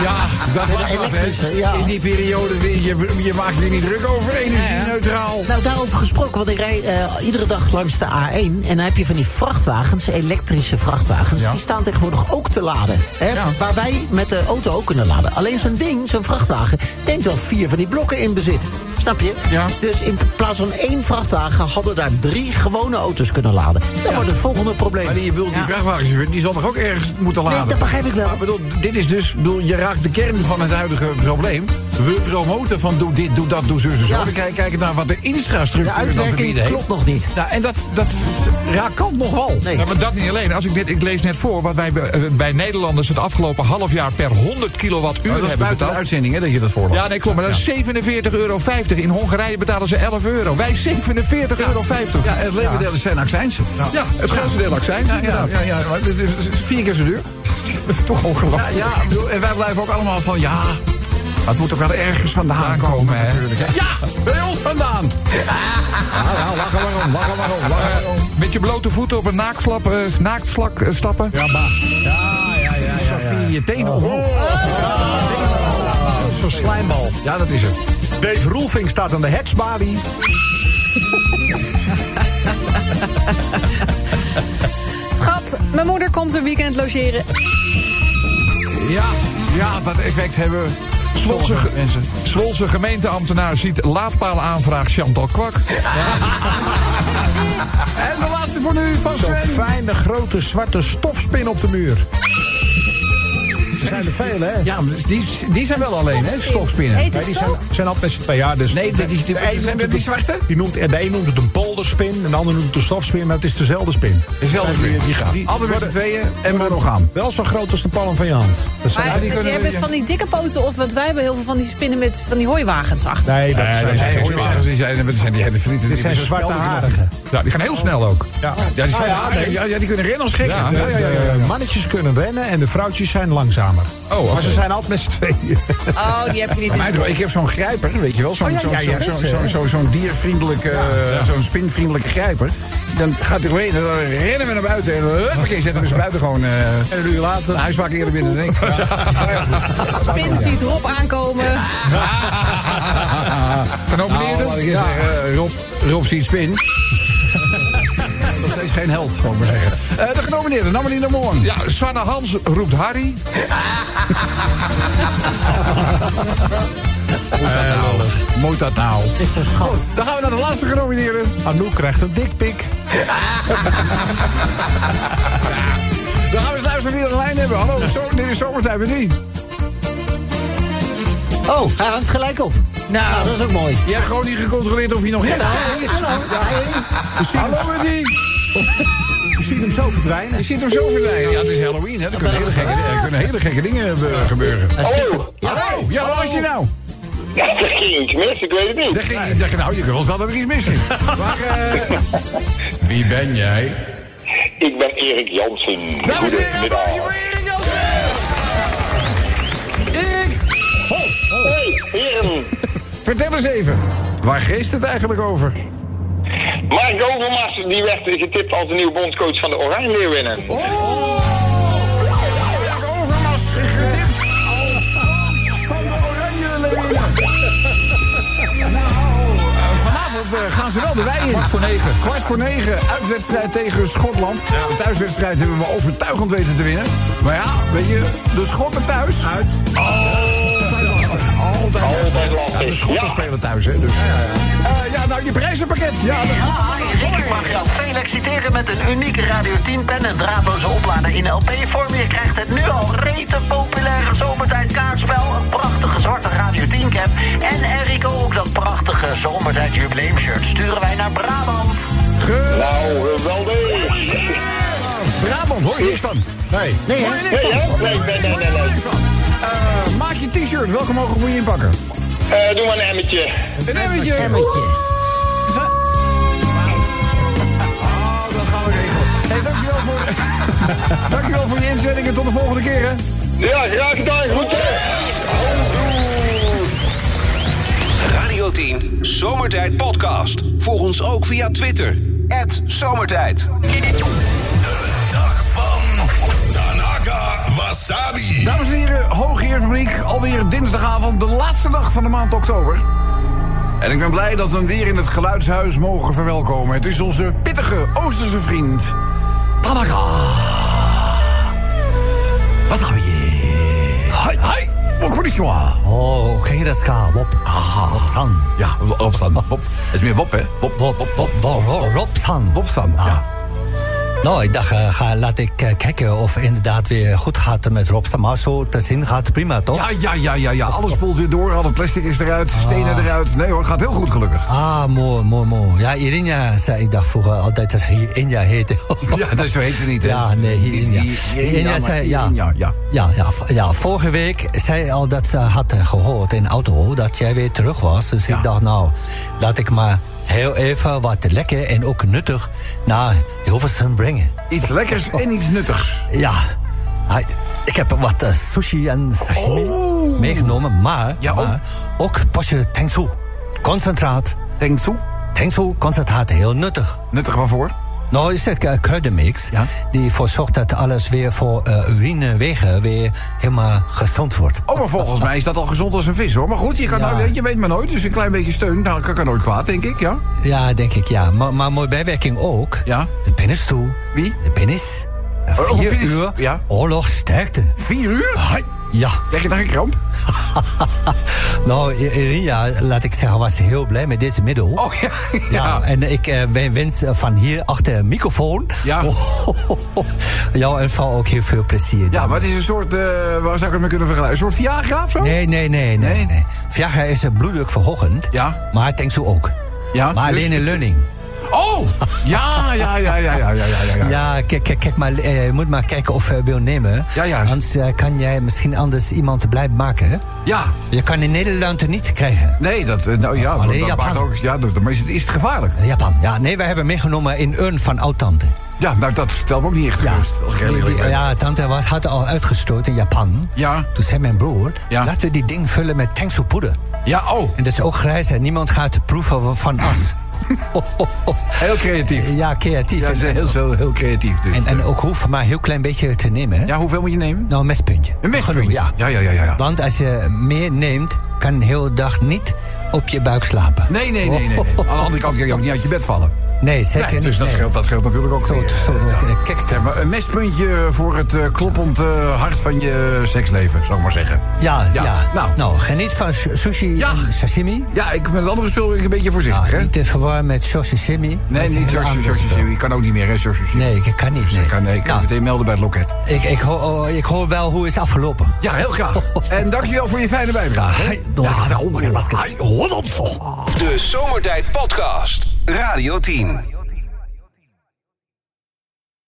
[SPEAKER 2] Ja, dat was wat,
[SPEAKER 9] elektrische,
[SPEAKER 2] hè.
[SPEAKER 9] ja.
[SPEAKER 2] In die periode, weer- je, je maakt je niet druk over energie-neutraal.
[SPEAKER 9] Nou, daarover gesproken, want ik rij eh, iedere dag langs de A1. En dan heb je van die vrachtwagens, elektrische vrachtwagens. Die staan tegenwoordig ook te laden. Hè,
[SPEAKER 2] Ja.
[SPEAKER 9] Waar wij met de auto ook kunnen laden. Alleen zo'n ding, zo'n vrachtwagen, neemt wel vier van die blokken in bezit. Snap je?
[SPEAKER 2] Ja.
[SPEAKER 9] Dus in plaats van één vrachtwagen hadden daar drie gewone auto's kunnen laden. Dat wordt het volgende probleem.
[SPEAKER 2] Maar die, wil die vrachtwagenchauffeur, die zal toch ook ergens moeten laden?
[SPEAKER 9] dat begrijp ik wel.
[SPEAKER 2] Maar bedoel, dit is dus, bedoel, je raakt de kern van het huidige probleem. We promoten van doe dit, doe dat, doe zus en zo.
[SPEAKER 9] Ja.
[SPEAKER 2] Dan kijk, kijken naar wat de infrastructuur dan te
[SPEAKER 9] De
[SPEAKER 2] bieden
[SPEAKER 9] uitwerking
[SPEAKER 2] heeft.
[SPEAKER 9] klopt nog niet.
[SPEAKER 2] Nou, en dat, dat raakt kant nog wel.
[SPEAKER 9] Nee.
[SPEAKER 6] Ja, maar dat niet alleen. Als ik, net, ik lees net voor wat wij eh, bij Nederlanders het afgelopen half jaar per 100 kilowattuur
[SPEAKER 2] Maar Oh, dat is
[SPEAKER 6] hebben
[SPEAKER 2] buiten de
[SPEAKER 6] betaald.
[SPEAKER 2] uitzending, hè, dat je dat voorlaat.
[SPEAKER 6] Ja, nee, klopt. Maar dat is 47,50 euro. In Hongarije betalen ze 11 euro. Wij 47,50 euro.
[SPEAKER 2] Ja, het levendeel zijn accijns.
[SPEAKER 6] Ja, het grootste deel accijns,
[SPEAKER 2] Ja, ja,
[SPEAKER 6] inderdaad.
[SPEAKER 2] ja, ja, maar het is het is vier keer zo duur.
[SPEAKER 6] Toch
[SPEAKER 2] Ja,
[SPEAKER 6] ongelooflijk.
[SPEAKER 2] ja, ik bedoel, en wij blijven ook allemaal van ja. Maar het moet toch wel ergens vandaan
[SPEAKER 6] Vandaan
[SPEAKER 2] komen,
[SPEAKER 6] komen, hè? Nou,
[SPEAKER 2] natuurlijk. hè. Ja, bij ons vandaan. Ja, ja, lachen maar om, lachen maar om, lachen maar om.
[SPEAKER 6] Met met je blote voeten op een naakvlak, eh, naaktvlak eh, stappen. Ja,
[SPEAKER 2] Via je tenen omhoog.
[SPEAKER 8] Zo'n slijmbal.
[SPEAKER 2] Ja, dat is het.
[SPEAKER 8] Dave Roelvink staat aan de hetsbalie.
[SPEAKER 5] Schat, mijn moeder komt een weekend logeren.
[SPEAKER 2] Ja, ja dat effect hebben
[SPEAKER 6] Zwolse,
[SPEAKER 2] sommige mensen.
[SPEAKER 6] Zwolse gemeenteambtenaar ziet laadpaalaanvraag Chantal Kwak.
[SPEAKER 2] En de laatste voor nu van
[SPEAKER 8] Zo'n
[SPEAKER 2] Sven.
[SPEAKER 8] fijne grote zwarte stofspin op de muur. Er zijn er veel, hè?
[SPEAKER 2] Ja, maar die, die zijn wel alleen, hè? Stofspinnen.
[SPEAKER 5] Heet
[SPEAKER 8] Nee,
[SPEAKER 5] het
[SPEAKER 8] die zijn,
[SPEAKER 5] zo?
[SPEAKER 8] zijn altijd met z'n twee. Ja, dus
[SPEAKER 2] Nee, dat is die-
[SPEAKER 8] de een
[SPEAKER 2] zijn
[SPEAKER 8] noemt
[SPEAKER 2] dat
[SPEAKER 8] het
[SPEAKER 2] die
[SPEAKER 8] een-
[SPEAKER 2] zwarte?
[SPEAKER 8] Die noemt, de een noemt het een polderspin, en de ander noemt het een stofspin, maar het is dezelfde spin.
[SPEAKER 2] Dezelfde
[SPEAKER 8] Zijn die-
[SPEAKER 2] spin,
[SPEAKER 8] die-
[SPEAKER 2] ja.
[SPEAKER 8] die-
[SPEAKER 2] Altijd met z'n
[SPEAKER 8] worden
[SPEAKER 2] tweeën en monogaam.
[SPEAKER 8] Wel zo groot als de palm van je hand. Dat zijn,
[SPEAKER 5] Maar
[SPEAKER 8] die
[SPEAKER 5] jij
[SPEAKER 8] kunnen-
[SPEAKER 5] hebt van die dikke poten of want wij hebben heel veel van die spinnen met van die hooiwagens achter.
[SPEAKER 8] Nee, dat zijn
[SPEAKER 2] Hey,
[SPEAKER 8] geen
[SPEAKER 2] hoor,
[SPEAKER 8] spin.
[SPEAKER 2] die zijn, wat zijn die hele vrienden?
[SPEAKER 8] Dit zijn
[SPEAKER 2] die hebben
[SPEAKER 8] zwarte
[SPEAKER 2] spelden
[SPEAKER 8] harigen.
[SPEAKER 6] Ja, die gaan heel snel ook.
[SPEAKER 8] Ja.
[SPEAKER 2] Ja, die,
[SPEAKER 8] Ah,
[SPEAKER 2] zwarte
[SPEAKER 8] ja,
[SPEAKER 2] haren,
[SPEAKER 8] nee.
[SPEAKER 2] ja, ja, die kunnen rennen als gek.
[SPEAKER 6] Ja.
[SPEAKER 8] Ja, ja, ja, ja, ja. Mannetjes kunnen rennen en de vrouwtjes zijn langzamer.
[SPEAKER 6] Oh, oké.
[SPEAKER 8] Maar ze zijn altijd met z'n tweeën.
[SPEAKER 5] Oh, die heb je niet.
[SPEAKER 2] Maar ik heb zo'n grijper, weet je wel. Zo'n
[SPEAKER 8] Oh, ja,
[SPEAKER 2] zo'n-
[SPEAKER 8] ja, ja,
[SPEAKER 2] zo'n-
[SPEAKER 8] dat is,
[SPEAKER 2] zo'n-
[SPEAKER 8] hè.
[SPEAKER 2] zo'n- zo'n diervriendelijke, eh, zo'n spinvriendelijke grijper. Dan gaat hij doorheen en dan rennen we naar buiten. En eh, huppakee, zetten we ze buiten gewoon... eh en een uur later. Hij is vaak eerder binnen dan ik.
[SPEAKER 5] Spin ziet Rob aankomen.
[SPEAKER 6] Kan ook meneer
[SPEAKER 2] Nou, laat
[SPEAKER 6] doen?
[SPEAKER 2] ik eens zeggen, Rob, Rob ziet spin. Nog steeds geen held, zou ik maar zeggen. Eh, de genomineerden, Namelien de Moorn.
[SPEAKER 6] Ja, Sanne Hans roept Harry.
[SPEAKER 2] Moet dat nou?
[SPEAKER 9] Het is zo schat.
[SPEAKER 2] Dan gaan we naar de laatste genomineerde.
[SPEAKER 8] Anouk krijgt een dikpik.
[SPEAKER 2] Dan gaan we eens luisteren wie er een lijn hebben. Hallo, zo, dit is zomertijd met wie?
[SPEAKER 9] Oh, hij hangt gelijk op. Nou, dat is ook mooi.
[SPEAKER 2] Jij hebt gewoon niet gecontroleerd of hij nog in is. Hallo met die.
[SPEAKER 8] Je ziet hem zo verdwijnen.
[SPEAKER 2] Je ziet hem zo verdwijnen. Ja, het is Halloween, hè. Er kunnen hele gekke, er kunnen hele gekke dingen eh, gebeuren.
[SPEAKER 9] Hallo.
[SPEAKER 2] Hallo, ja, wat was je nou?
[SPEAKER 11] Ja, dat ging iets mis, ik weet het niet.
[SPEAKER 2] Daar ging, daar ging- nou, je kunt wel zeggen dat er iets misging. Maar, eh,
[SPEAKER 3] Wie ben jij?
[SPEAKER 11] Ik ben Erik Jansen.
[SPEAKER 2] dames en heren, een applausje voor
[SPEAKER 11] Goedemiddag.
[SPEAKER 2] Erik Jansen! Erik,
[SPEAKER 11] Hey, heren.
[SPEAKER 2] vertel eens even. Waar geest het eigenlijk over?
[SPEAKER 11] Mark Overmars die werd getipt als de nieuwe bondscoach van de Oranje Leeuwinnen.
[SPEAKER 2] Overmars getipt als van de Oranje Leeuwen. Nou, eh, vanavond eh, gaan ze wel de wei in. Kwart voor negen. Kwart voor negen, uitwedstrijd tegen Schotland. De thuiswedstrijd hebben we overtuigend weten te winnen. Maar ja, weet je, de Schotten thuis. Uit. Altijd lastig. Altijd
[SPEAKER 11] Altijd
[SPEAKER 2] lastig.
[SPEAKER 11] lastig.
[SPEAKER 2] Ja, de Schotten
[SPEAKER 11] Ja.
[SPEAKER 2] spelen thuis, hè. Dus. Eh, ja, nou, je prijzenpakket. Ja, dat
[SPEAKER 9] Rick mag jou feliciteren met een unieke Radio 10 pen en draadloze oplader in LP-vorm. Je krijgt het nu al rete populaire zomertijd kaartspel, een prachtige zwarte Radio 10 cap en Enrico ook dat prachtige zomertijd jubileumshirt sturen wij naar Brabant.
[SPEAKER 11] Nou, geweldig.
[SPEAKER 2] Brabant, hoor je niks van. Nee. Nee, hoor je niks
[SPEAKER 11] Nee,
[SPEAKER 2] van.
[SPEAKER 11] hè? Nee, nee, nee, nee, nee.
[SPEAKER 2] Eh, maak je t-shirt. Welke mogen we voor je inpakken?
[SPEAKER 11] Eh, doe maar een emmetje.
[SPEAKER 2] Een emmertje. Oh, dat gaan we regelen. Hey, dankjewel voor... dankjewel voor je inzending en tot de volgende keer, hè.
[SPEAKER 11] Ja, graag gedaan. Goed hè?
[SPEAKER 1] Radio 10 Zomertijd Podcast. Volg ons ook via Twitter. Zomertijd.
[SPEAKER 3] De dag van Tanaka Wasabi.
[SPEAKER 2] Dames en heren, Hoogheerfabriek. Alweer dinsdagavond, de laatste dag van de maand oktober. En ik ben blij dat we hem weer in het geluidshuis mogen verwelkomen. Het is onze pittige Oosterse vriend, Tanaka. Wat ga je? Hoi, hoi. Konnichiwa.
[SPEAKER 9] Oh, ken je dat ska? Wop, Aha. san.
[SPEAKER 2] Ja, Wopsan. Wop. Het is meer Wop, hè? Wop, Wop, Wop, Wop.
[SPEAKER 9] san.
[SPEAKER 2] Wopsan,
[SPEAKER 9] Ah.
[SPEAKER 2] ja.
[SPEAKER 9] Nou, ik dacht, eh, ga, laat ik eh, kijken of het inderdaad weer goed gaat met Rob Samasso. Te zien gaat prima, toch?
[SPEAKER 2] Ja, ja, ja, ja, ja. Alles spoelt weer door. Al het plastic is eruit, stenen eruit. Nee hoor, gaat heel goed gelukkig.
[SPEAKER 9] Ah, mooi, mooi, mooi. Ja, Irinja zei ik dacht vroeger altijd dat hij Inja heette.
[SPEAKER 2] Ja, dat zo heet ze niet, hè?
[SPEAKER 9] Ja, nee, Irinja.
[SPEAKER 2] Niet Irinja, maar
[SPEAKER 9] ja,
[SPEAKER 2] Irinja, ja.
[SPEAKER 9] ja. Ja, v- ja, vorige week zei al dat ze had eh, gehoord in de auto dat jij weer terug was. Dus ik dacht, nou, laat ik maar heel even wat lekker en ook nuttig naar Hilversum brengen.
[SPEAKER 2] Iets lekkers en iets nuttigs.
[SPEAKER 9] Ja, hij- ik heb wat eh, sushi en sashimi meegenomen, maar,
[SPEAKER 2] Oh. Ja, oh.
[SPEAKER 9] maar ook pasje Tengsu. Concentraat.
[SPEAKER 2] Denk toe.
[SPEAKER 9] Tengsu, concentraat, heel nuttig.
[SPEAKER 2] Nuttig waarvoor?
[SPEAKER 9] Nou, is een eh, kruidenmix die ervoor zorgt dat alles weer voor eh, urinewegen weer helemaal gezond wordt.
[SPEAKER 2] Oh, maar volgens mij is dat al gezond als een vis, hoor. Maar goed, je, kan
[SPEAKER 9] Ja.
[SPEAKER 2] nou, je weet maar nooit, dus een klein beetje steun nou, kan, kan nooit kwaad, denk ik, ja?
[SPEAKER 9] Ja, Ah, denk ik, ja. Maar, maar mooie bijwerking ook. Ja? De pennisstoel. Wie? De pennis. Eh,
[SPEAKER 2] Oh,
[SPEAKER 9] Vier
[SPEAKER 2] pennis.
[SPEAKER 9] uur
[SPEAKER 2] Ja.
[SPEAKER 9] oorlogsterkte.
[SPEAKER 2] Vier uur?
[SPEAKER 9] Ah. Ja.
[SPEAKER 2] Krijg je dan een kramp?
[SPEAKER 9] nou, I- Irina, laat ik zeggen, was heel blij met deze middel.
[SPEAKER 2] Oh ja.
[SPEAKER 9] ja en ik eh, we- wens eh, van hier achter een microfoon. Ja. jou en vrouw ook heel veel plezier.
[SPEAKER 2] Ja, maar het is een soort, eh, waar zou ik het mee kunnen vergelijken? Een soort Viagra of zo?
[SPEAKER 9] Nee, nee, nee, nee. nee. Viagra is eh, bloeddruk verhogend. Ja. Ah, dus Maar denk zo ook. Ja. Maar alleen in Lunning.
[SPEAKER 2] Dus- Oh! Ja, ja, ja, ja, ja, ja, ja, ja.
[SPEAKER 9] Ja, kijk, kijk, kijk maar, eh, je moet maar kijken of je wil nemen. Ja, juist. Anders eh, kan jij misschien anders iemand blij maken.
[SPEAKER 2] Ja.
[SPEAKER 9] Je kan in Nederland het niet krijgen.
[SPEAKER 2] Nee, dat, eh, nou ja,
[SPEAKER 9] Alleen
[SPEAKER 2] dat
[SPEAKER 9] Japan.
[SPEAKER 2] maakt ook, ja, dat, maar is het, is het gevaarlijk?
[SPEAKER 9] Eh, Japan, ja. Nee, wij hebben meegenomen in urn van oud-tante.
[SPEAKER 2] Ja, nou, dat stelt me ook niet echt gerust, als ik heel
[SPEAKER 9] Die- die-
[SPEAKER 2] eerlijk ben.
[SPEAKER 9] ja, tante was, had al uitgestoot in Japan.
[SPEAKER 2] Ja.
[SPEAKER 9] Toen zei mijn broer, laten we die ding vullen met tangsu poeder.
[SPEAKER 2] Ja, oh.
[SPEAKER 9] En dat is ook grijs en niemand gaat proeven van as.
[SPEAKER 2] Heel creatief.
[SPEAKER 9] Ja, creatief.
[SPEAKER 2] Ja, ze is heel, heel, heel creatief dus.
[SPEAKER 9] En, en ook hoef maar een heel klein beetje te nemen. Ja,
[SPEAKER 2] hoeveel moet je nemen?
[SPEAKER 9] Nou, een mespuntje.
[SPEAKER 2] Een mespuntje?
[SPEAKER 9] Genoeg, ja.
[SPEAKER 2] Ja, ja, ja, ja, ja.
[SPEAKER 9] Want als je meer neemt, kan de hele dag niet op je buik slapen. Oh.
[SPEAKER 2] Nee, nee, nee, nee. nee. Aan de andere kant kan je ook niet uit je bed vallen.
[SPEAKER 9] Nee, zeker
[SPEAKER 2] dus
[SPEAKER 9] niet,
[SPEAKER 2] Dus dat
[SPEAKER 9] nee.
[SPEAKER 2] scheelt, dat scheelt natuurlijk ook.
[SPEAKER 9] Zo-
[SPEAKER 2] weer,
[SPEAKER 9] zo-
[SPEAKER 2] eh,
[SPEAKER 9] eh,
[SPEAKER 2] ja.
[SPEAKER 9] kekster.
[SPEAKER 2] Ja, maar een mespuntje voor het eh, kloppend eh, hart van je seksleven, zou ik maar zeggen.
[SPEAKER 9] Ja, ja.
[SPEAKER 2] Nou.
[SPEAKER 9] geniet van su- sushi en sashimi.
[SPEAKER 2] Ja, ik, met het andere spul ben ik een beetje voorzichtig,
[SPEAKER 9] Ja,
[SPEAKER 2] hè?
[SPEAKER 9] Niet te verwarren met sashimi.
[SPEAKER 2] Nee, niet Joshua Joshua. Ik kan ook niet meer, hè, Joshua
[SPEAKER 9] Nee, ik kan niet.
[SPEAKER 2] Ik kan, nee, ik kan meteen melden bij het loket.
[SPEAKER 9] Ik, ik, hoor, oh, ik hoor wel hoe het is afgelopen.
[SPEAKER 2] Ja, heel graag. En dankjewel voor je fijne bijdrage. hè? Ja, daarom.
[SPEAKER 1] De Zomertijd Podcast. Radio 10.